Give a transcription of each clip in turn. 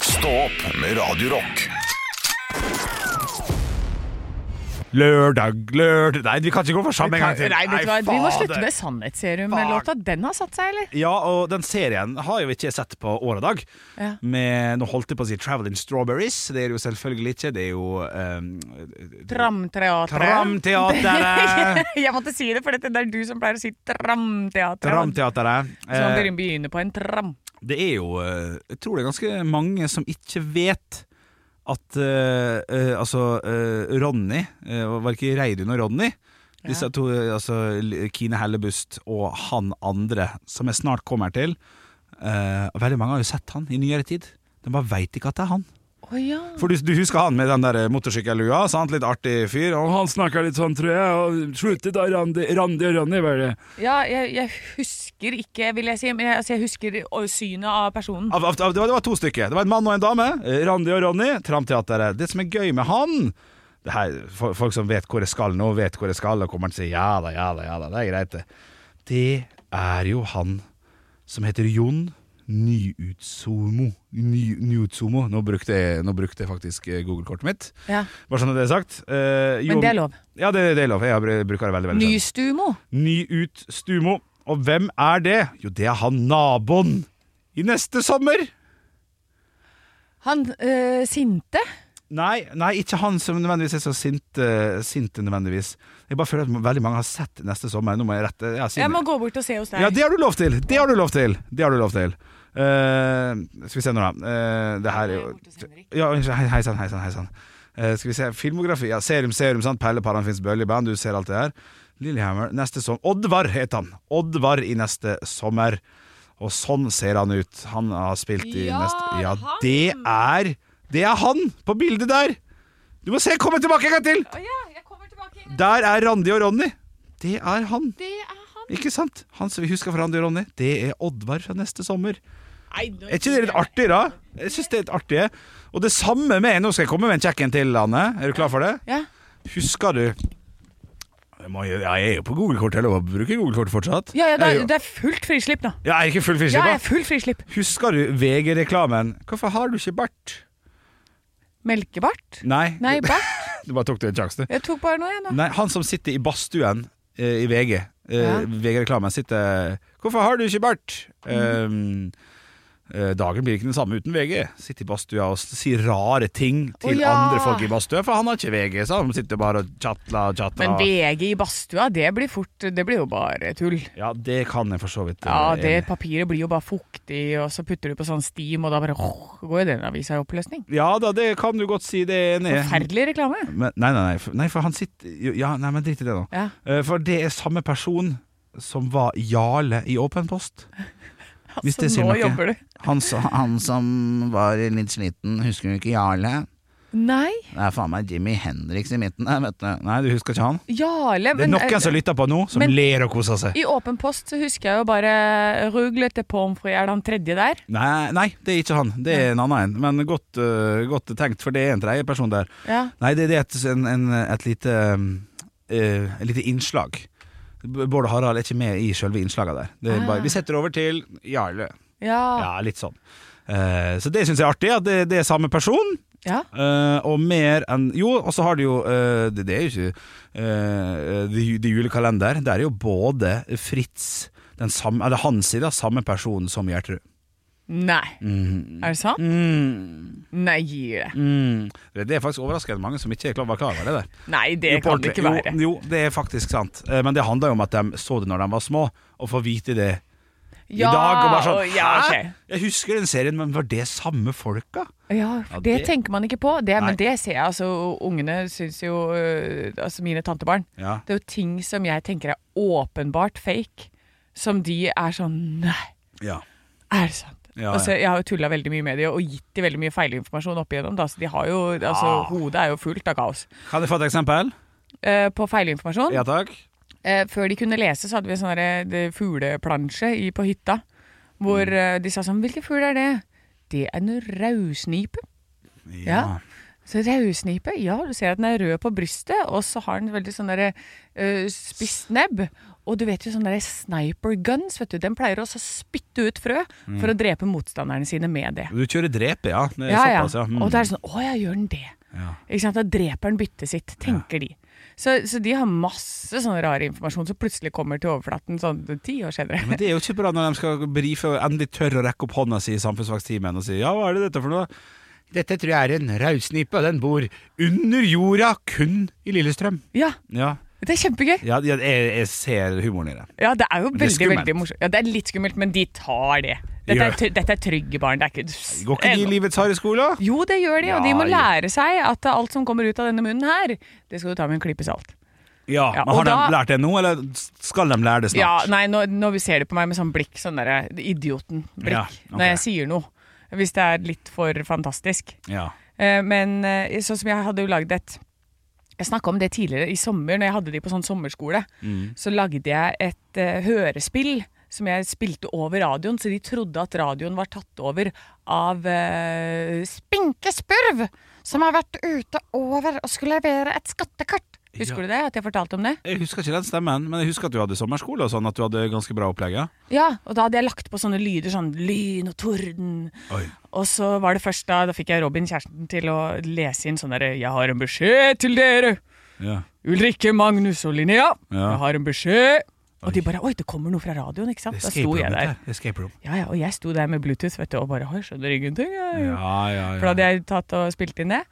Stå opp med Radio Rock. Lørdag, lørdag Nei, vi kan ikke gå for samme en gang til. Nei, vet du hva? Vi må slutte fader. med Sannhetsserum-låta. Den har satt seg, eller? Ja, og den serien har jeg jo ikke sett på år og dag. Ja. Med, nå holdt jeg på å si 'Traveling Strawberries'. Det er det jo selvfølgelig ikke. Det er jo um, Tramteatret. Tramteatret! Jeg måtte si det, for dette, det er du som pleier å si Tramteatret. Tramteatret. Så man Eh, begynner- begynner på en tram. det er jo eh, Jeg tror det er ganske mange som ikke vet at eh, eh, altså eh, Ronny eh, Var det ikke Reidun og Ronny? Disse to, eh, altså L- Kine Hellebust og han andre, som jeg snart kommer til. Eh, veldig mange har jo sett han i nyere tid. De bare veit ikke at det er han. Å ja. For du, du husker han med den der motorsykkellua? sant? Litt artig fyr. Og han snakka litt sånn, tror jeg. Og sluttet da Randi, og Ronny, var det. ja jeg, jeg husker ikke, vil jeg si, men jeg, altså, jeg husker å- synet av personen. Av, av, av, det, var, det var to stykker. Det var en mann og en dame. Eh, Randi og Ronny, Tramteatret. Det som er gøy med han det her, for, Folk som vet hvor jeg skal nå, vet hvor jeg skal, og kommer til å si ja da, ja da, ja da. Det er greit, det. Det er jo han som heter Jon Nyutsumo. Ny, Nyutsumo. Nå brukte, jeg, nå brukte jeg faktisk eh, Google-kortet mitt. Ja. Bare sånn at det er sagt. Eh, Men Jon- det er lov. Ja, det, det er lov. Jeg har br- bruker det veldig, veldig sjelden. Nystumo. Nyutstumo. Og hvem er det? Jo, det er han naboen i neste sommer. Han øh, sinte. Nei, nei, ikke han som nødvendigvis er så sint, eh, sint nødvendigvis. Jeg bare føler at veldig mange har sett neste sommer. Nå må jeg rette ja, siden- Jeg må gå bort og se hos deg. ja, det har du lov til! Det har du lov til! Det har du lov til. Eh, skal vi se nå, da. Eh, det her er jo ja, unnskyld, hei, hei sann, hei sann. Hei, sann. Eh, skal vi se, filmografi. Ja, serum, serum, sant. Pelle Paran fins bølleband, du ser alt det her. Lillehammer neste sommer. Oddvar het han. Oddvar i neste sommer. Og sånn ser han ut. Han har spilt i Ja, neste Ja, han. det er Det er han på bildet der! Du må se, komme tilbake en gang til! Å ja, jeg kommer tilbake. igjen. Der er Randi og Ronny. Det er han. Det er han. Ikke sant? Han som vi husker fra Andy og Ronny, det er Oddvar fra neste sommer. Nei, nå- Er ikke det litt artig, da? Jeg synes det er litt artig. Og det samme med Nå skal jeg komme med en kjekk en til, Anne. Er du klar for det? Ja. Husker du jeg, må, jo- ja, jeg er jo på Google-kort. Jeg lover å bruke Google-kort fortsatt. Ja, ja, det, Jeg er, jo- det er fullt frislipp nå. Ja, jeg er ikke full Ja, jeg fiskepapp. er full frislipp. Husker du VG-reklamen? Hvorfor har du ikke bart? Melkebart? Nei, Nei, bart. du bare tok det en sjanse, du. Jeg tok bare noe, jeg nå. Nei, han som sitter i badstuen eh, i VG, eh, Ja. VG-reklamen, sitter Hvorfor har du ikke bart? Mhm. Ehm, eh, dagen blir ikke den samme uten VG. Sitter i badstua og s- sier rare ting til Å, ja. andre folk i badstua, for han har ikke VG, så han sitter bare og chatler og chatler. Men VG i badstua, det blir fort Det blir jo bare tull. Ja, det kan jeg for så vidt. eh, Ja, enig. det papiret blir jo bare fuktig, og så putter du på sånn steam, og da bare åh, går jo den avisa i oppløsning. ja da, det kan du godt si, det er jeg enig. i. Forferdelig reklame. Men- Nei, nei, nei, for, nei, for han sitter Ja, nei, men drit i det nå. Ja. Eh, For det er samme person som var Jarle i Åpen post. Hvis det sier altså, noe. nå jobber du. Han, sa- han som var litt sliten, husker du ikke Jarle? Nei, Det er faen meg Jimmy Hendrix i midten der, vet du. Nei, du husker ikke han? Jarle Det er altså. men, eh, noen som lytter på nå, som men- ler og koser seg. I Åpen post så husker jeg jo bare eh, ruglete pommes frites, er det han tredje der? Nei, nei, det er ikke han. Det er en annen en. Men godt, øh, godt tenkt, for det er en tredje person der. Ja. Nei, det, det er et, en, en, et lite øh, Et lite innslag. B- Bård og Harald er ikke med i selve innslaget der. Det er Ah. bare, vi setter over til Jarle. Ja. Ja, litt sånn. Eh, så det syns jeg er artig, at det, det er samme person. ja. Eh, og mer enn Jo, og så har du jo eh, det, det er jo ikke eh, det, det er julekalender. Det er jo både Fritz den samme, Eller hans side, samme person som Gjertrud. Nei. Mm. Er det sant? Nei, gi det. mm. Det, det er faktisk overraskende mange som ikke er klar, var klar over det. der Nei, det Jo, på kan det ikke ordentlig. være. Jo, jo, det er faktisk sant. Eh, men det handler jo om at de så det når de var små, og får vite det i dag. Og bare sånn og- ja, Hæ? ok. Jeg husker den serien, men var det samme folka? Ja, for Ja, det, det- tenker man ikke på. Det, Nei. men det ser jeg. Altså, ungene syns jo øh, Altså mine tantebarn. Ja. Det er jo ting som jeg tenker er åpenbart fake, som de er sånn Nei, ja. er det sant? Ja, altså, jeg har jo tulla veldig mye med de og gitt de veldig mye feilinformasjon opp igjennom. Da, så de har jo, Ah. altså, hodet er jo fullt av kaos. Kan jeg få et eksempel? Eh, på feilinformasjon Ja takk. eh, Før de kunne lese, så hadde vi en sånn derre, det- fugleplansje i, på hytta. Hvor Mm. eh, de sa sånn Hvilken fugl er det? Det er en rausnipe. Ja. Så Rødsnipe, ja, du ser at den er rød på brystet, og så har den veldig sånn derre ø, spisst eh, nebb. Og du vet jo sånne der sniper guns, vet du, den pleier også å spytte ut frø for å drepe motstanderne sine med det. Du kjører drepe, ja. Mm. Det er Ja, ja. såpass, ja. Mm. Og da er det sånn Å ja, gjør den det? Ja. Ikke sant? Da dreper den byttet sitt, tenker de. Så, så de har masse sånn rar informasjon som plutselig kommer til overflaten sånn ti år senere. Men det er jo ikke bra når de skal brife og endelig tørre å rekke opp hånda si i samfunnsfagstimen og si ja, hva er det dette for noe? Dette tror jeg er en rausnipe, og den bor under jorda, kun i Lillestrøm. Ja, Ja, det er kjempegøy. ja jeg, jeg ser humoren i det. Ja, det er jo det er veldig, skummelt. veldig morsomt. Ja, det er litt skummelt, men de tar det. Dette Gjør er, tr- dette er trygge barn. Det er ikke Går ikke de i livets harde skole? Jo, det gjør de, og de Ja, må ja. lære seg at alt som kommer ut av denne munnen her, det skal du ta med en klype salt. Ja, Ja, men Har og da- de lært det nå, eller skal de lære det Ja, snart? nei, nå, nå ser du på meg med sånn blikk, sånn derre idioten-blikk, Ja, ok. når jeg sier noe. Hvis det er litt for fantastisk. Ja. Eh, Men eh, sånn som jeg hadde jo lagd et Jeg snakka om det tidligere i sommer, når jeg hadde de på sånn sommerskole. Så lagde jeg et eh, hørespill som jeg spilte over radioen, så de trodde at radioen var tatt over av eh, Spinkespurv! Som har vært ute over og skulle levere et skattekart. Ja. Husker du det? At jeg fortalte om det? Jeg husker ikke den stemmen, men jeg husker at du hadde sommerskole og sånn, at du hadde ganske bra opplegg. ja. Ja, og da hadde jeg lagt på sånne lyder, sånn lyn og torden. Oi. Og så var det først da, da fikk jeg Robin, kjæresten, til å lese inn sånn derre Jeg har en beskjed til dere! Ja. Ulrikke, Magnus og Linnea, Ja. jeg har en beskjed! Og de bare Oi, det kommer noe fra radioen, ikke sant? Da Escape sto room. jeg der. dette her. Escape room. Ja, ja, og jeg sto der med Bluetooth, vet du, og bare Oi, skjønner ingenting, jeg. Ja, ja, For da ja. hadde jeg tatt og spilt inn det.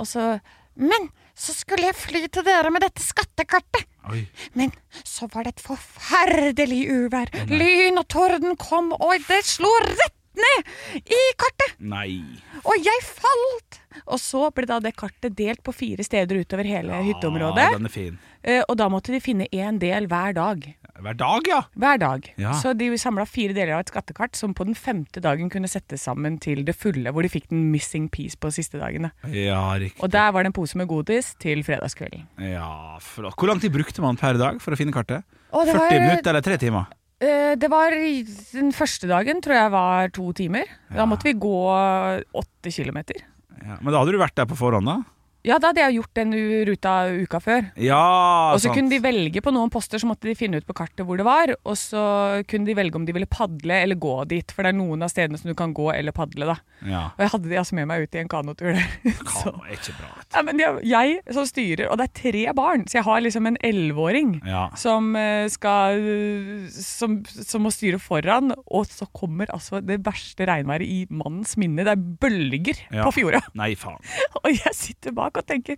Og så Men så skulle jeg fly til dere med dette skattekartet! Oi. Men så var det et forferdelig uvær. Lyn og torden kom, og det slo rett ned i kartet! Nei. Og jeg falt! Og så ble da det kartet delt på fire steder utover hele hytteområdet. Ah, den er fin. Eh, Og da måtte de finne én del hver dag. Hver dag, ja. Hver dag. Ja. Så de samla fire deler av et skattekart som på den femte dagen kunne settes sammen til det fulle, hvor de fikk den missing piece på siste dagene. Ja, riktig. Og der var det en pose med godis til fredagskvelden. Ja, flott. Hvor lang tid brukte man per dag for å finne kartet? Å, det 40 var- minutter eller 3 timer? Eh, Det var i- Den første dagen tror jeg var to timer. Da måtte vi gå åtte kilometer. Ja, men da hadde du vært der på forhånd, da? Ja, da hadde jeg gjort den u- ruta uka før. Ja, Og så kunne de velge på noen poster, så måtte de finne ut på kartet hvor det var. Og så kunne de velge om de ville padle eller gå dit, for det er noen av stedene som du kan gå eller padle, da. Ja. Og jeg hadde de altså med meg ut i en kanotur der. Så. Kano er ikke bra. vet Ja, men jeg, jeg som styrer, og det er tre barn, så jeg har liksom en elleveåring du. Ja. som eh, skal som, som må styre foran, og så kommer altså det verste regnværet i mannens minne. Det er bølger Ja. på fjorda, Nei, faen. og jeg sitter bak og tenker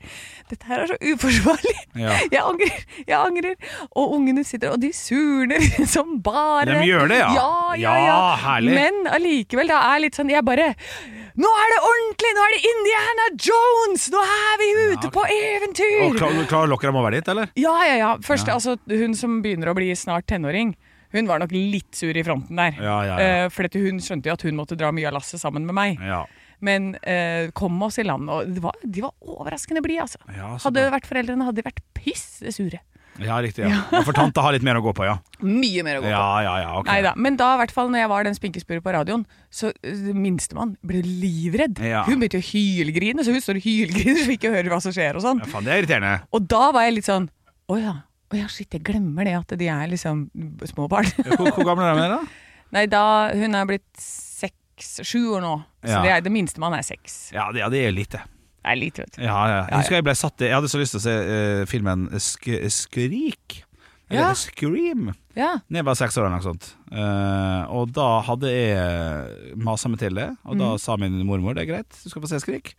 dette her er så uforsvarlig. Ja. Jeg angrer, jeg angrer. Og ungene sitter, og de surner som bare De gjør det, ja. Ja, ja, ja. Ja, herlig. Men allikevel, det er litt sånn Jeg bare Nå er det ordentlig! Nå er det Indiana Jones! Nå er vi ute Ja, ok. på eventyr! Og klar- Klarer dere dem å være dit, eller? Ja, ja, ja. Først, altså, hun som begynner å bli snart tenåring, hun var nok litt sur i fronten der. Ja, ja, ja. Eh, for dette, hun skjønte jo at hun måtte dra mye av lasset sammen med meg. Ja. Men eh, kom oss i land, og det var, de var overraskende blide, altså. Ja, så hadde det vært foreldrene, hadde de vært pissesure. ja riktig. Ja. Ja, for tante har litt mer å gå på, ja. Mye mer å gå på. Ja, ja, ja. ok. Neida. Men da, i hvert fall, når jeg var den spinkespuret på radioen, så eh, minstemann ble livredd. Ja. Hun begynte å hylgrine, så hun står og hylgriner så vi ikke hører hva som skjer og sånn. Ja, faen, det er irriterende. Og da var jeg litt sånn Å ja. Å ja, shit, jeg glemmer det at de er liksom små barn. Hvor, hvor gamle er de da? Nei, da Hun er blitt seks, sju år nå. Så Ja. det, er, det minste man er seks. Ja, det, ja, det er lite. Det er lite, vet du. Ja, ja. Jeg husker jeg ble satt i Jeg hadde så lyst til å se eh, filmen Sk Skrik. Eller Ja. Scream. Ja. Da jeg var seks år eller noe sånt. Eh, og da hadde jeg masa meg til det, og Mm. da sa min mormor det er greit, du skal få se Skrik.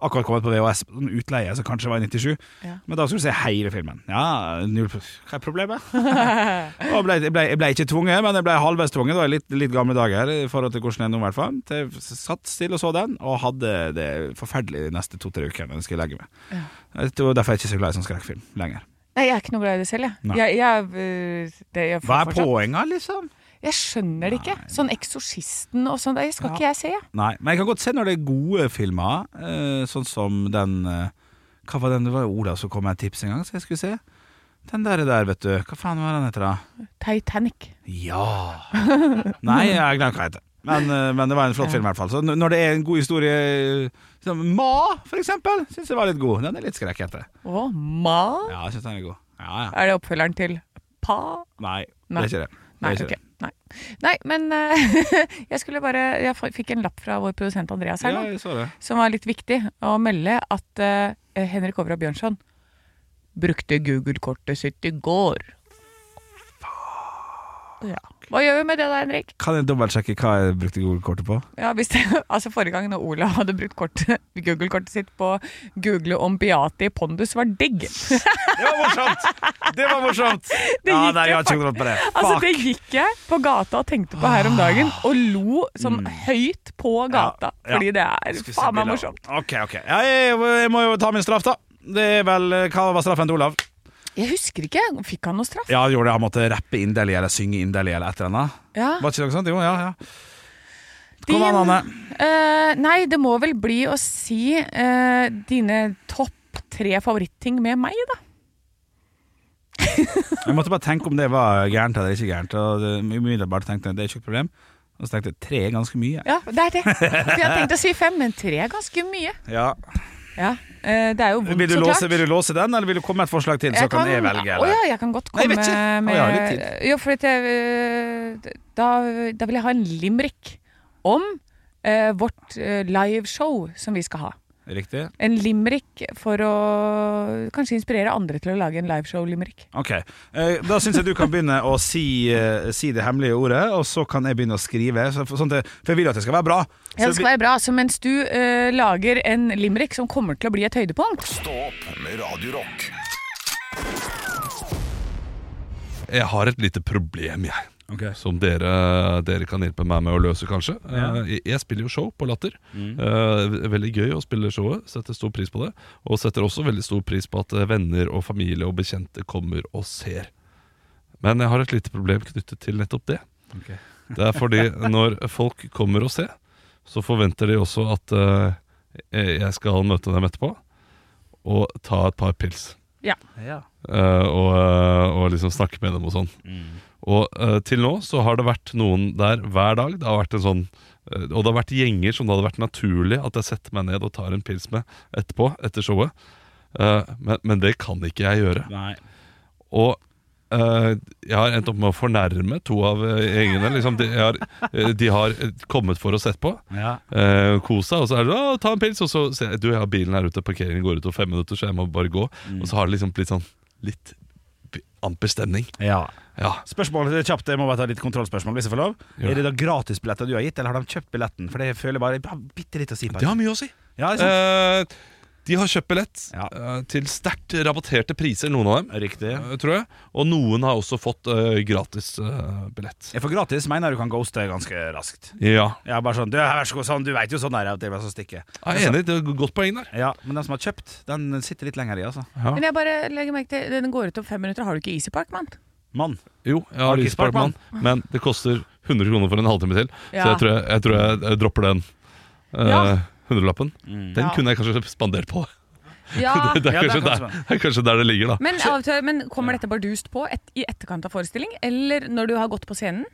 Akkurat kommet på VHS, på en sånn utleie som kanskje var i 97, Ja. men da skulle du se hele filmen. Ja, null pro- Hva er problemet? Og ble, jeg, ble, jeg ble ikke tvunget, men jeg ble halvveis tvunget. Det var i litt, litt gamle dager i forhold til hvordan jeg er nå, i hvert fall. Til jeg satt stille og så den, og hadde det forferdelig de neste to-tre ukene når jeg skulle legge meg. Det var derfor jeg er ikke så glad i sånn skrekkfilm lenger. Nei, jeg er ikke noe glad i det selv, Nei. jeg. jeg, jeg øh, det, jeg, får Hva er fortsatt- poenget, liksom? jeg skjønner det ikke. Sånn Eksorsisten og sånn, det skal ikke jeg se. jeg. Nei, men jeg kan godt se når det er gode filmer, eh, sånn som den eh, Hva var den? Det var jo Olav som kom med et tips en gang, så jeg skulle se. Den der, der vet du. Hva faen var den heter, da? Titanic. Ja Nei, jeg glemte hva den heter. Men, eh, men det var en flott film, i hvert fall. Så n- når det er en god historie eh, som Ma, for eksempel, syns jeg var litt god. Den er litt skrekkete. Å, ma? Ja, jeg syns den er god. Ja, ja. Er det oppfølgeren til pa? Nei, det Nei. er ikke det. det, Nei, er ikke ok. det. Nei. Nei, men eh, jeg skulle bare Jeg f- fikk en lapp fra vår produsent Andreas her Ja, nå, jeg så det. som var litt viktig å melde at eh, Henrik Overhaug Bjørnson brukte Google-kortet sitt i går. Ja. Hva gjør vi med det da, Henrik? Kan jeg dobbeltsjekke hva jeg brukte Google-kortet på? Ja, hvis det, altså Forrige gang når Olav hadde brukt kortet, Google-kortet sitt på google om Beate i pondus var digg. Det var morsomt! Det var morsomt! ja, gikk nei, jeg jo har ikke kontroll på det. Fuck! Ah. Altså Det gikk jeg på gata og tenkte på her om dagen, og lo sånn høyt på gata. Mm. Ja, ja. Fordi det er Skal vi se faen meg bilder. morsomt. Ok, ok. Ja, jeg, jeg må jo ta min straff, da. Det er vel, Hva var straffen til Olav? Jeg husker ikke. Fikk han noe straff? Ja, han gjorde det. Han måtte rappe inderlig eller synge inderlig eller et eller annet. Ja. Var ikke det noe sånt? Jo, ja, ja. Din- Kom an, Anne. Eh, nei, det må vel bli å si eh, dine topp tre favoritting med meg, da. Jeg måtte bare tenke om det var gærent eller ikke gærent. Og det- umiddelbart tenkte jeg det er ikke noe problem. Og så tenkte jeg tre er ganske mye. Ja, det er det. For jeg hadde tenkt å si fem, men tre er ganske mye. Ja. Ja, eh, Det er jo Vil, vondt, du så låse, klart. vil du låse den, eller vil du komme med et forslag til, så Jeg kan, jeg velge? Å Eller? ja, jeg kan godt Nei, jeg komme vet ikke. med Å, jeg har litt tid. Jo, fordi at jeg, eh, da, da vil jeg ha en limerick om eh, vårt eh, liveshow som vi skal ha. Riktig. En limerick for å kanskje inspirere andre til å lage en liveshow-limerick. Ok, eh, Da syns jeg du kan begynne å si, eh, si det hemmelige ordet, og så kan jeg begynne å skrive. Så, for, sånn at jeg- for jeg vil jo at det skal være bra. Så Ja, det vi- skal være bra. Så mens du eh, lager en limerick som kommer til å bli et høydepunkt Stå opp med Radio Rock. Jeg har et lite problem, jeg. Ok. Som dere, dere kan hjelpe meg med å løse, kanskje. Ja. Eh, Jeg, jeg spiller jo show på Latter. Eh, ve- veldig gøy å spille showet. Setter stor pris på det. Og setter også veldig stor pris på at eh, venner og familie og bekjente kommer og ser. Men jeg har et lite problem knyttet til nettopp det. Ok. Det er fordi når folk kommer og ser, så forventer de også at eh, jeg skal møte dem etterpå og ta et par pils. Ja. Eh, og, eh, og liksom snakke med dem og sånn. Mm, Og eh, til nå så har det vært noen der hver dag. Det har vært en sånn eh, Og det har vært gjenger som det hadde vært naturlig at jeg setter meg ned og tar en pils med etterpå, etter showet. Eh, men, men det kan ikke jeg gjøre. Nei. Og eh, jeg har endt opp med å fornærme to av eh, gjengene. Liksom, de, jeg har, eh, de har eh, kommet for å sette på. Ja. Uh, kosa, og så er det sånn, «Å, ta en pils, og så sier jeg du, jeg har bilen her ute, parkeringen går ut om fem minutter, så jeg må bare gå. Og så har det liksom blitt sånn litt b- amper stemning. ja. Ja. Spørsmålet er kjapt, jeg må bare ta litt kontrollspørsmål hvis jeg får lov. Ja. Er det da gratisbilletter du har gitt, eller har de kjøpt billetten? For det føler jeg bare jeg har bitte litt å si på. Det har mye å si. Ja, ikke sant? Eh, de har kjøpt billett Ja. eh, til sterkt rabatterte priser, noen av dem, Riktig. eh, tror jeg. Og noen har også fått eh, gratis eh, billett. Jeg får gratis, mener jeg du kan ghoste ganske raskt. Ja. Ja, bare sånn, du, vær så god, sånn, du vet jo sånn er det, at det er bare så stikke. Jeg er enig, det er et godt poeng der. Ja, men den som har kjøpt, den sitter litt lenger i, altså. Men jeg bare legger merke til Den går ut om fem minutter. Har du ikke Easy Park, mann? Mann. Jo, jeg har Markus Lise Parkman, men det koster 100 kroner for en halvtime til. Så Ja. jeg tror jeg, jeg, tror jeg eh, dropper den eh, Ja. hundrelappen. Mm. Den Ja. kunne jeg kanskje spandert på. Ja. Ja, Det er det er kanskje der, kanskje- det er kanskje der det ligger, da. Men, avtale, men kommer dette bardust på et, i etterkant av forestilling, eller når du har gått på scenen?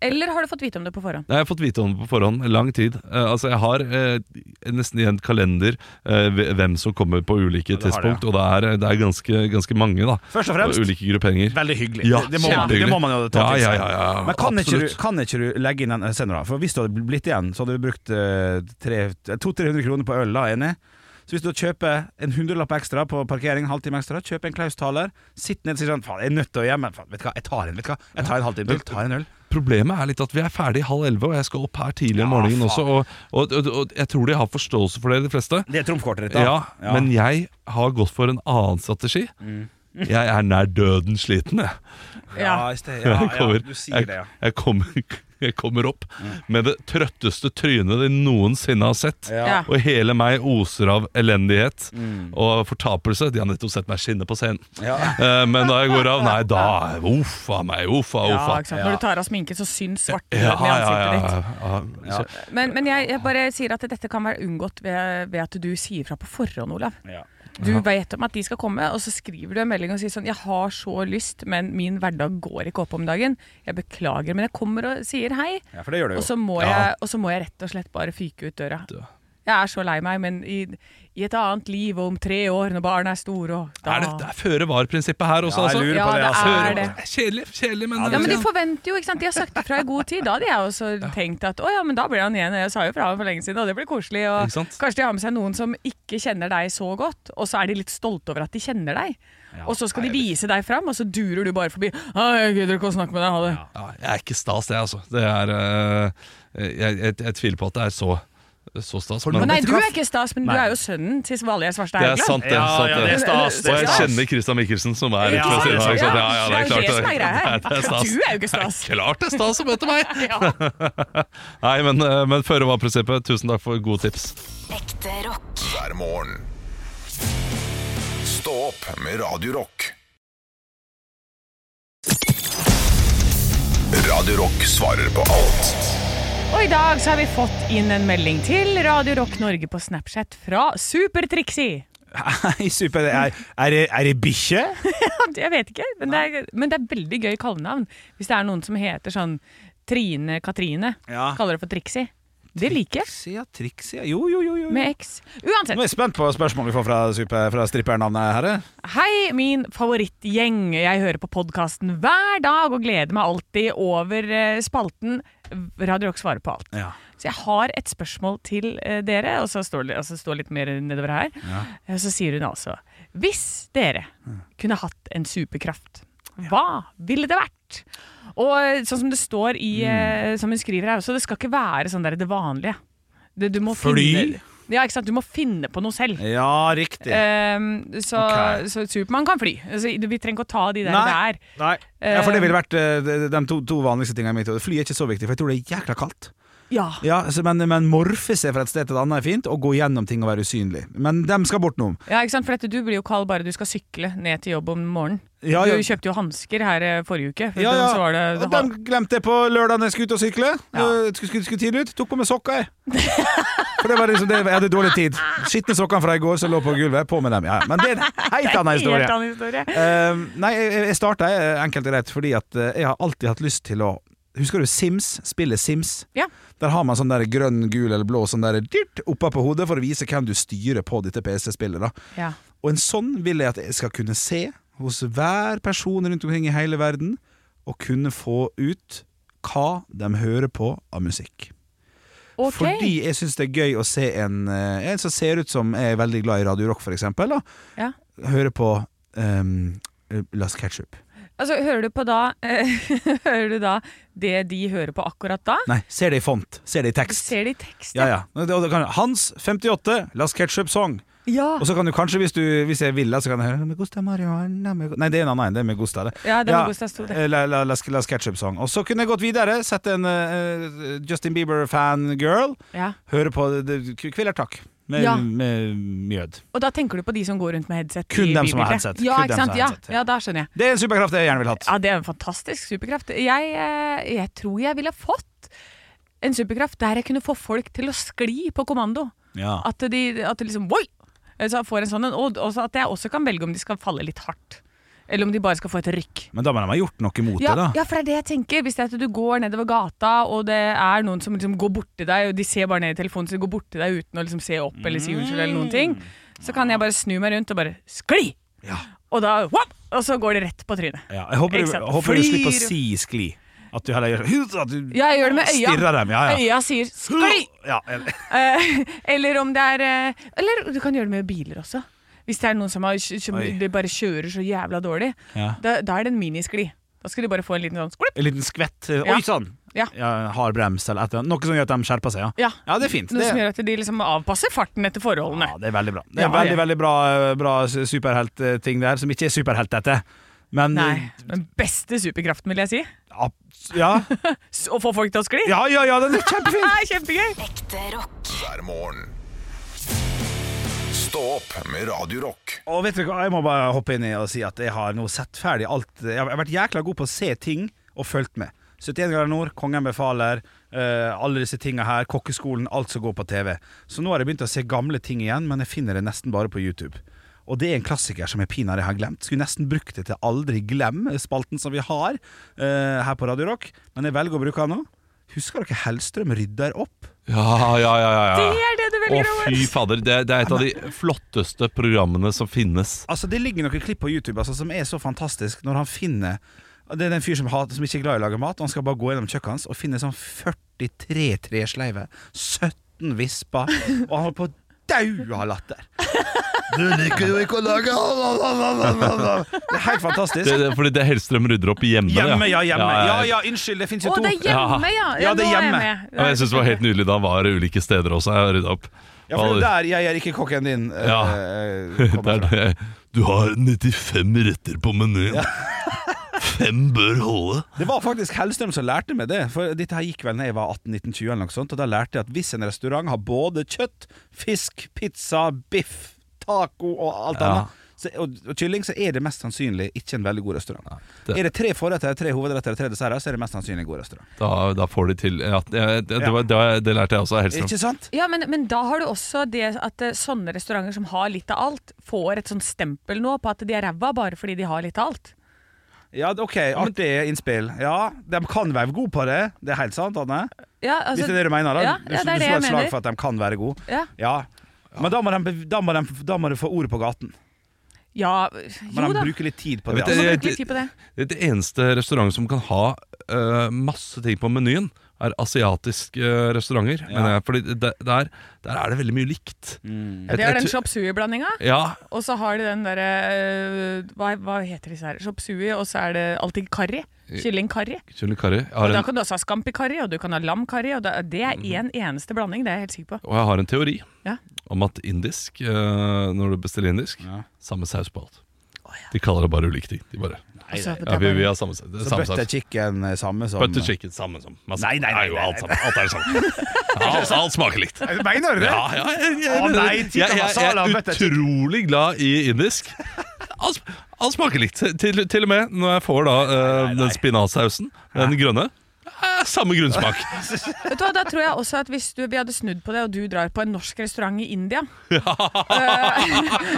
Eller har du fått vite om det på forhånd? Nei, Jeg har fått vite om det på forhånd lang tid. Eh, altså Jeg har eh, nesten i en kalender eh, hvem som kommer på ulike det har du, tidspunkt, og det er, eh, det er ganske, ganske mange, da. Først og fremst, Og ulike grupperinger. Veldig hyggelig. Ja, det, det, må man, det kjempehyggelig. må man jo ta til Ja, seg. ja, ja, ja, Men kan ikke, du, absolutt. kan ikke du legge inn en eh, sender, da? For hvis du hadde blitt igjen, så hadde du brukt eh, tre- 200-300 kroner på øl, da, enig? Så hvis du kjøper en hundrelapp ekstra på parkering, en halvtime ekstra, kjøp en Klaus Thaler, sitt ned og si sånn Faen, jeg er nødt til å hjem, men faen, vet du hva, jeg tar en, vet du hva. Jeg tar en halvtime til, tar en øl. Problemet er litt at vi er ferdig halv elleve, og jeg skal opp her tidlig Ja, om faen. morgenen også. Og, og, og, og jeg tror de har forståelse for det, de fleste. Det er trumfkortet ditt, da. Ja, men jeg har gått for en annen strategi. Mm. Jeg er nær døden sliten, jeg. ja, i sted, ja, jeg, ja, kommer, du sier jeg, det, ja. Mm. jeg, kommer, jeg kommer opp med det trøtteste trynet de noensinne har sett. Ja. Og hele meg oser av elendighet og fortapelse. De har nettopp sett meg skinne på scenen. Mm. Ja. Eh, men da jeg går av, nei, da er- Uff a meg, uff a Ja, uff ikke sant? Når du tar av sminken, så syns svart i Ja, ja, ansiktet ja, ditt. ja, ja. Så, Men, men jeg, jeg bare sier at dette kan være unngått ved, ved at du sier fra på forhånd, Olav. Ja. Du vet om at de skal komme, og så skriver du en melding og sier sånn Jeg har så lyst, men min hverdag går ikke opp om dagen. Jeg beklager, men jeg kommer og sier hei. ja, for det gjør det Og jo. så må, Ja. jeg, og så må jeg rett og slett bare fyke ut døra. Dø. Jeg er så lei meg, men i, i et annet liv og om tre år, når barna er store og da Er det, det er føre var-prinsippet her Ja, også, jeg altså? lurer Ja, på det, det altså. er det. Kjedelig, kjedelig, men, Ja, men de forventer jo, ikke sant. De har sagt ifra i god tid. Da hadde jeg også tenkt at å ja, men da blir han igjen. Jeg sa jo fra for lenge siden, og det blir koselig. Og Ikke sant? kanskje de har med seg noen som ikke kjenner deg så godt, og så er de litt stolte over at de kjenner deg. og så skal de vise deg fram, og så durer du bare forbi. «Å, 'Jeg gidder ikke å snakke med deg, ha det'. Ja, jeg er ikke stas, jeg, altså. Det er, eh, jeg, jeg, jeg tviler på at det er så, så stas. For men- Å nei, vet du du hva? er ikke stas, men du Nei. er jo sønnen til Valgerd Svarstad det er Haugland. sant, det. Ja, sant, ja, det er stas. Det Og er jeg stas. kjenner Christian Mikkelsen, som er Ikke sant? representert. Ja, Ja, ja, ja, det er klart det som er greia her. Det er stas. Du er jo ikke stas. Det er klart det er stas å møte meg! Ja. Nei, men, eh, men føre var-prinsippet, tusen takk for gode tips. Ekte rock. hver morgen. Stå opp med Radio Rock. Radio Rock svarer på alt Og i dag så har vi fått inn en melding til Radio Rock Norge på Snapchat fra Super-Trixie. Nei, super, er, er, det- er det bikkje? Jeg vet ikke, men det, er, men det er veldig gøy kallenavn. Hvis det er noen som heter sånn Trine Katrine, Ja. kaller det for Trixie. Det liker jeg. Trixie, ja, Trixie. ja. Jo, jo, jo. jo. Med X. Nå er Uansett. jeg spent på spørsmålet vi får fra, super- fra strippernavnet her. Hei, min favorittgjeng. Jeg hører på podkasten hver dag og gleder meg alltid over eh, spalten Radio Rock svarer på alt. Ja. Så jeg har et spørsmål til eh, dere, og så står det altså, står litt mer nedover her. Eh, Så sier hun altså Hvis dere Mm. kunne hatt en superkraft, hva ville det vært? Og eh, sånn som det står i Mm. eh, Som hun skriver her også, det skal ikke være sånn der det vanlige. Det, du må Fly? Finne, ja, ikke sant. Du må finne på noe selv. ja, riktig. Ehm, så, Ok. så Supermann kan fly. Altså, vi trenger ikke å ta de der det Nei. er. Nei. Ja, for det ville vært eh, de- de to, to vanligste tingene i mitt hode. Fly er ikke så viktig, for jeg tror det er jækla kaldt. Ja. Ja, altså, men, men morfe seg fra et sted til et annet er fint, og gå gjennom ting og være usynlig. Men dem skal bort nå. ja, ikke sant. For dette, du blir jo kald bare du skal sykle ned til jobb om morgenen. Ja, ja. Du kjøpte jo hansker her eh, forrige uke. for Ja, da ja. Så var det, Og dem glemte jeg på lørdagen jeg skulle ut og sykle. Ja. Eh, Skulle, skulle, skulle tidlig ut. Tok på meg sokker, jeg. For det var liksom det, jeg hadde dårlig tid. Skitne sokkene fra i går som lå på gulvet. På med dem, ja. ja. Men det er en helt annen historie. Helt annen historie. Eh, nei, jeg, jeg starta eh, enkelt og greit fordi at eh, jeg har alltid hatt lyst til å Husker du Sims? Spillet Sims? Ja. Der har man sånn der grønn, gul eller blå sånn der dyrt oppa på hodet for å vise hvem du styrer på dette PC-spillet. da Ja. Og en sånn vil jeg at jeg skal kunne se hos hver person rundt omkring i hele verden, og kunne få ut hva de hører på av musikk. Ok. Fordi jeg syns det er gøy å se en, eh, en som ser ut som jeg er veldig glad i Radio Rock, for eksempel, da, Ja. høre på ehm, Last Ketchup. Altså, hører du på da eh, Hører du da det de hører på akkurat da? Nei, ser det i font. Ser det i Du tekst. ser det i tekst, Ja, ja. Og da kan jeg- Hans 58, Last Ketchup Song. Ja. Og så kan du kanskje, hvis, du, hvis jeg vil, det, så kan jeg høre Med Gusta Marihuana med Gu-" Nei, det er en annen. Det er med Gusta. Det. Ja, det er med Gusta, sto det. eh, La, la, la, la Ketchup Song. Og så kunne jeg gått videre, sett en eh, Justin Bieber-fangirl, Ja. høre på det- det- Kveler takk. Med, Ja. med mjød. Og da tenker du på de som går rundt med headset? Kun i dem som har bilbildet. headset. Ja, Kun dem ikke sant? som har Ja, headset, ja. ja, da skjønner jeg. Det er en superkraft jeg gjerne ville hatt. Ja, det er en fantastisk superkraft. Jeg, eh, jeg tror jeg ville fått en superkraft der jeg kunne få folk til å skli på kommando. Ja. At de, at de liksom Oi! Så jeg får en sånn en. Og også at jeg også kan velge om de skal falle litt hardt. Eller om de bare skal få et rykk. Men da må de ha gjort noe imot Ja, det, da. ja, for det er det jeg tenker. Hvis det er at du går nedover gata, og det er noen som liksom går borti deg, og de ser bare ned i telefonen, så de går borti deg uten å liksom se opp eller si unnskyld eller noen ting, så kan jeg bare snu meg rundt og bare skli! Mm. Ja. Og da whoop, Og så går det rett på trynet. Ja, jeg håper, Ikke du, sant? jeg håper du slipper å Flyr. si skli. At du heller gjør at du Ja, jeg gjør det med øya. stirrer dem. Ja, ja. Øya sier skli! Ja, eller- Eh, eller om det er eh, Eller du kan gjøre det med biler også. Hvis det er noen som, har, som Oi. de bare kjører så jævla dårlig, Ja. da, da er det en miniskli. Da skal de bare få en liten sånn sklipp. En liten skvett. eh, Ja. Oi sann! Ja. hard brems eller et eller annet. Noe som gjør at de skjerper seg. Ja, Ja. ja det er fint. Noe som Det, gjør at de liksom avpasser farten etter forholdene. ja, det er veldig bra. Det er Ja, veldig, ja. veldig bra, eh, bra s- superheltting der, som ikke er superhelt, dette. Men Nei, den beste superkraften, vil jeg si. Ja, ja, S- Å få folk til å skli. ja, ja, ja den er Det kjempefin! er kjempegøy! Ekte rock. hver morgen. Stå opp med Radio Rock Og vet du hva, jeg må bare hoppe inn i og si at jeg har nå sett ferdig alt. Jeg har vært jækla god på å se ting og fulgt med. 71 grader nord, Kongen befaler, eh, alle disse tinga her, Kokkeskolen, alt som går på TV. Så nå har jeg begynt å se gamle ting igjen, men jeg finner det nesten bare på YouTube. Og det er en klassiker som jeg pinadø har glemt. Skulle nesten brukt det til Aldri glem, spalten som vi har eh, her på Radio Rock, men jeg velger å bruke den nå. Husker dere Hellstrøm rydder opp? Ja, ja, ja, ja, Det ja. er det du Å, fy fader. Det, det er et av de flotteste programmene som finnes. Altså Det ligger noen klipp på YouTube altså, som er så fantastisk når han finner Det er den fyr som, hat, som ikke er glad i å lage mat, og han skal bare gå gjennom kjøkkenet hans og finne sånn 43 tresleiver, 17 visper, og han holder på å dau av latter. Du liker jo ikke å lage Det er helt fantastisk. Det, det, fordi det Hellstrøm rydder opp hjemme. det, Hjemme, ja, hjemme. Ja, Ja ja. ja, unnskyld, det fins jo Å, to. det er hjemme, ja! Ja, det er nå jeg hjemme. med. Ja, men jeg syns det var helt nydelig da han var ulike steder også. Jeg har ryddet opp. Ja, for det er der jeg er ikke kokken din. eh, Ja. kommer fra. det. Du har 95 retter på menyen. Fem bør holde. Det var faktisk Hellstrøm som lærte meg det. For dette her gikk vel når jeg var 18-19-20, eller noe sånt, og da lærte jeg at hvis en restaurant har både kjøtt, fisk, pizza, biff, taco og alt Ja. annet så, og, og kylling, så er det mest sannsynlig ikke en veldig god restaurant. det- Er det tre forretter, tre hovedretter og tre desserter, så er det mest sannsynlig en god restaurant. Da, da får de til ja, det, det, det, var, det, var- det lærte jeg også av Hellstrøm. Ikke sant? Ja, men, men da har du også det at eh, sånne restauranter som har litt av alt, får et sånt stempel nå på at de er ræva bare fordi de har litt av alt. Ja, OK, artig innspill. Ja, de kan være gode på det. Det er helt sant, Anne. Ja, altså, Hvis det er det du mener, da. Ja, Du- ja, det du er det slår et jeg slag mener. for at de kan være gode. Ja. Ja. Men da må, de, bev- da, må de, da må de få ordet på gaten. ja, Må jo de da. bruke litt tid på det. Jeg vet, altså. Man eh, bruker litt tid på det. Det, det eneste restaurant som kan ha eh, masse ting på menyen, er asiatiske eh, restauranter. Men jeg, fordi det- der, der er det veldig mye likt. Mm. Ja, Jeg- de har jeg den tr- chop sui-blandinga, Ja, og så har de den derre øh, hva, hva heter disse her? Chop sui, og så er det alltid karri. Kyllingkarri. kylling curry. Jeg Og har Da en, kan du også ha scampi-karri, og du kan ha lam-karri. Og da, det er én eneste blanding, det er jeg helt sikker på. og jeg har en teori Ja. om at indisk, eh, når du bestiller indisk, samme saus på alt. De kaller det bare ulike ting. De bare, Altså, det er ja, vi, vi bare- har samme saus. det er Så Samme butter saus. chicken eh, samme som Butter chicken, samme som masse. Nei, nei, nei, Det er jo nei, alt sammen. Alt er det samme. alt, alt smaker likt. Mener du det? Ja, ja, jeg, jeg, Å, nei, jeg, tikka jeg, jeg masala, er butter utrolig glad i indisk. Alt, alt smaker likt. Til, til og med når jeg får da eh, den spinatsausen, den grønne. eh, Samme grunnsmak. Vet du hva, Da tror jeg også at hvis du, vi hadde snudd på det, og du drar på en norsk restaurant i India, eh,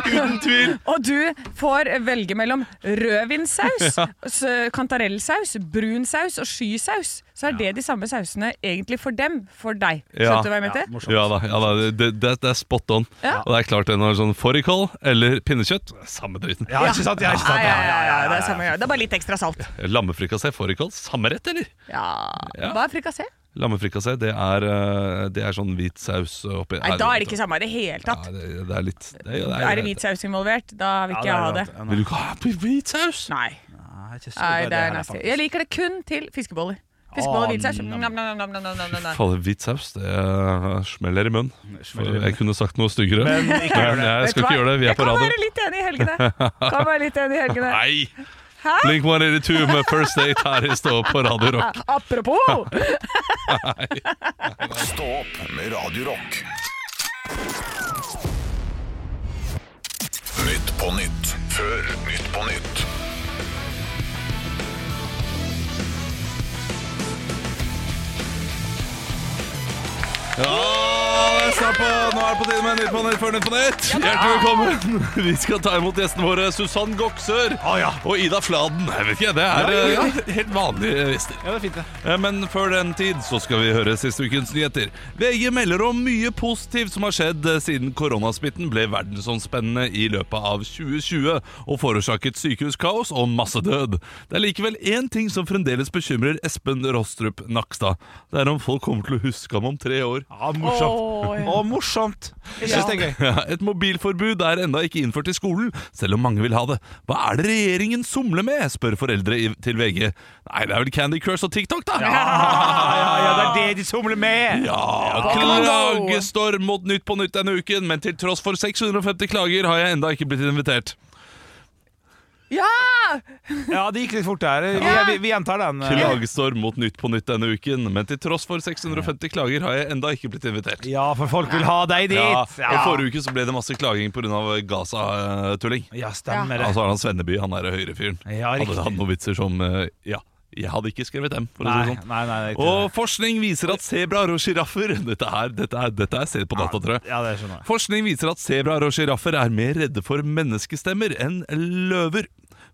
Uten tvil. og du får velge mellom rødvinsaus, s- kantarellsaus, brun saus og skysaus, så er det de samme sausene egentlig for dem, for deg. Ja. Skjønte du hva jeg mente? morsomt. Ja da, ja da det, det, det er spot on. Ja. Og det er klart det når sånn fårikål eller pinnekjøtt Samme driten. Ja, ikke sant? Ja, ikke sant? Nei, Ja, ja, ja, ja, ja, det er samme greia. Det er bare litt ekstra salt. Lammefrikassé, fårikål, samme rett, eller? Ja. Ja. Hva er frikassé? Lammefrikassé, det er, eh, det er sånn hvit saus oppi Nei, da er det ikke samme i det hele tatt. Ja, det, det er litt det, det Er det hvit saus involvert, da vil ja, ikke jeg ha det. sant. Ja, nei. Vil du ikke ha hvit saus? Nei, Nei, ikke så Nei glad i det her, er nasty. faktisk. Jeg liker det kun til fiskeboller. Ah, Fiskeboller og hvit saus. nam. Nam, nam, nam, nam, nam, nam, nam. Fader, hvit saus, det eh, smeller i munnen. smeller i munnen. Jeg kunne sagt noe styggere. Men Men ikke gjør det. jeg skal ikke gjøre det, vi er Jeg på kan radio. være litt enig i helgene. Kan være litt enig i helgene. Nei! Hæ? Blink 182 med First Date her i stå på Radio Rock. Apropos! Stå opp med Radio Rock. Nytt på nytt før Nytt på nytt. Ja, det er snart på. Nå er det på tide med Nytt på Nytt før Nytt på Nytt. Hjertelig velkommen. Vi skal ta imot gjestene våre Susann Goksør og Ida Fladen. Jeg vet ikke, det er Ja, ja. eh, helt vanlige gjester. Ja, det er fint, det. Eh, Men før den tid så skal vi høre siste ukens nyheter. VG melder om mye positivt som har skjedd eh, siden koronasmitten ble verdensomspennende i løpet av 2020 og forårsaket sykehuskaos og masse død. Det er likevel én ting som fremdeles bekymrer Espen Rostrup Nakstad. Det er om folk kommer til å huske ham om tre år. Ja, morsomt. Åh, ja. Å, morsomt. Jeg syns det er gøy. Ja, Et mobilforbud er ennå ikke innført i skolen, selv om mange vil ha det. Hva er det regjeringen somler med, spør foreldre i- til VG. Nei, det er vel Candy Crush og TikTok, da. Ja, ja, ja, det er det de somler med. Ja, Ah, klagestorm mot Nytt på Nytt denne uken, men til tross for 650 klager har jeg enda ikke blitt invitert. ja! Ja, det gikk litt fort der. Vi, vi, vi gjentar den. eh. Klagestorm mot Nytt på Nytt denne uken, men til tross for 650 klager har jeg enda ikke blitt invitert. Ja, for folk vil ha deg Ja, dit. og Forrige uke så ble det masse klaging pga. Gaza-tulling. Ja, stemmer det. Altså Erland Svenneby, han derre høyrefyren. Ja, riktig. hadde hatt noen vitser som eh, Ja, jeg hadde ikke skrevet dem, for å Nei, si det sånn. nei, nei. det er ikke Og forskning viser at sebraer og sjiraffer dette, er- dette, er- dette er sett på data, tror jeg. det. Ja, det skjønner jeg. Forskning viser at sebraer og sjiraffer er mer redde for menneskestemmer enn løver.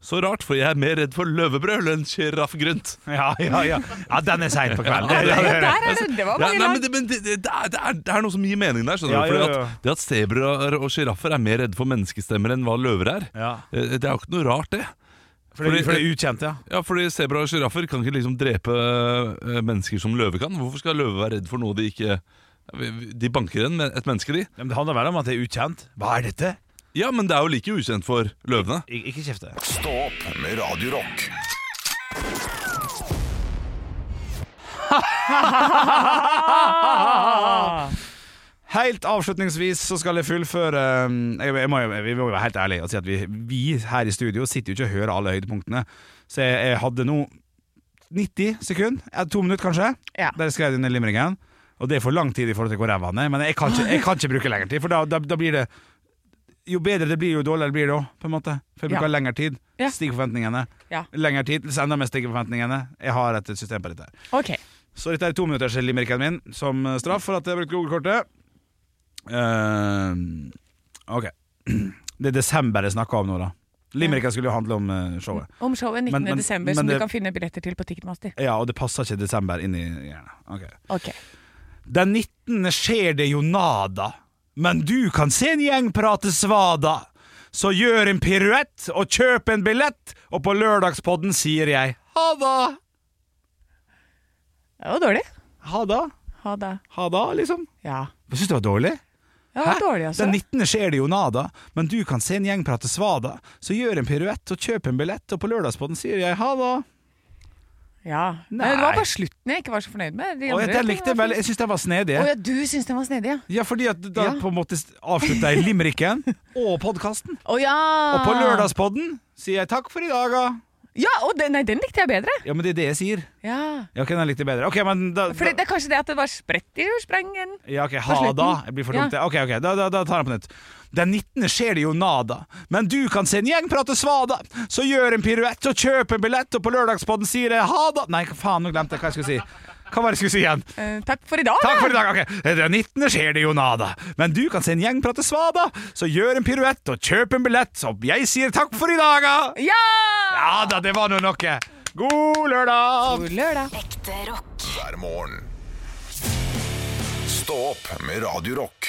Så rart, for jeg er mer redd for løvebrøl enn sjiraffgrynt. Ja, ja, ja. ja, den er seint på kvelden. Ja, Ja, det, der er det, det var mange Ja, nei, men lag. det, men det, det, det, er, det, er, det er noe som gir mening der. skjønner Ja, du? Fordi ja, ja. At, det at sebraer og sjiraffer er mer redde for menneskestemmer enn hva løver er, Ja. eh, det er jo ikke noe rart, det. for det, for det er ukjent, ja. Ja, fordi Sebraer og sjiraffer kan ikke liksom drepe eh, mennesker som løver kan. Hvorfor skal løver være redd for noe de ikke De banker en, et menneske, de. Ja, Men det handler vel om at det er ukjent. Hva er dette? Ja, men det er jo like ukjent for løvene. Ik ikke kjefte. Stå opp med Radio Rock. Helt avslutningsvis så skal jeg fullføre um, jeg, jeg må, jo- Vi må jo være helt ærlige og si at vi, vi her i studio sitter jo ikke og hører alle høydepunktene. Så jeg, jeg hadde nå 90 sekunder, eh, to minutter kanskje, Ja. der jeg skrev denne limringen. Og det er for lang tid i forhold til hvor ræva han er, men jeg kan ikke, jeg kan ikke bruke lengre tid. For da, da, da blir det Jo bedre det blir, jo dårligere blir det òg, på en måte. For jeg Ja. bruker lengre tid. Ja. Stiger forventningene. Ja. Lengre tid, så enda mer stiger forventningene. Jeg har et system på dette. her Ok. så dette er to minutter til limericken min som eh, straff for at jeg brukte Google-kortet. Ehm, ok. Det er desember jeg snakker om nå, da. Limericken skulle jo handle om eh, showet. Om showet 19. Men- men- desember, men som det- du kan finne billetter til på Ticketmaster. Ja, og det passer ikke desember inn i hjernen. Ok. Ok. Den 19. skjer det jo nada, men du kan se en gjeng prate svada. Så gjør en piruett og kjøp en billett, og på lørdagspodden sier jeg ha da. Det var dårlig. Ha da? Ha det. Ha da, liksom. Ja. Jeg syns det var dårlig. Det Hæ? var dårlig, altså. Den 19. skjer det jo nada, men du kan se en gjeng prate svada. Så gjør en piruett og kjøp en billett, og på lørdagspodden sier jeg ha da. Ja. Nei. Men det var bare slutten jeg ikke var så fornøyd med. De Og andre jeg, jeg likte tingene den var veldig, jeg syns den var snedig. fint. Å ja, du syns den var snedig, ja. Ja, fordi at da Ja. på en måte avslutta jeg limericken og podkasten. Å ja. Og Ah. på lørdagspodden sier jeg takk for i dag, da. Ja, og den, nei, den likte jeg bedre. Ja, men det er det jeg sier. Ja. Ja, ok, den likte jeg bedre. Ok, men da, For det, da det er kanskje det at det var spredt i sprengen. ja, ok, på ha slutten. da. Jeg blir for dumt. Ok, ok, da, da, da tar jeg på nytt. Den 19. skjer det jo nada, men du kan se en gjeng prate svada. Så gjør en piruett og kjøp en billett, og på lørdagspodden sier jeg ha da. Nei, faen, nå glemte jeg hva jeg skulle si. Hva var det jeg skulle si igjen? Eh, takk for i dag. Takk da. for i dag. ok Eh, Den 19. skjer det jo nada, men du kan se en gjeng prate svada. Så gjør en piruett og kjøp en billett, så jeg sier takk for i dag. da. Ja! Ja da, det var nå noe. God lørdag! God lørdag. Ekte rock. hver morgen. Stå opp med Radio Rock.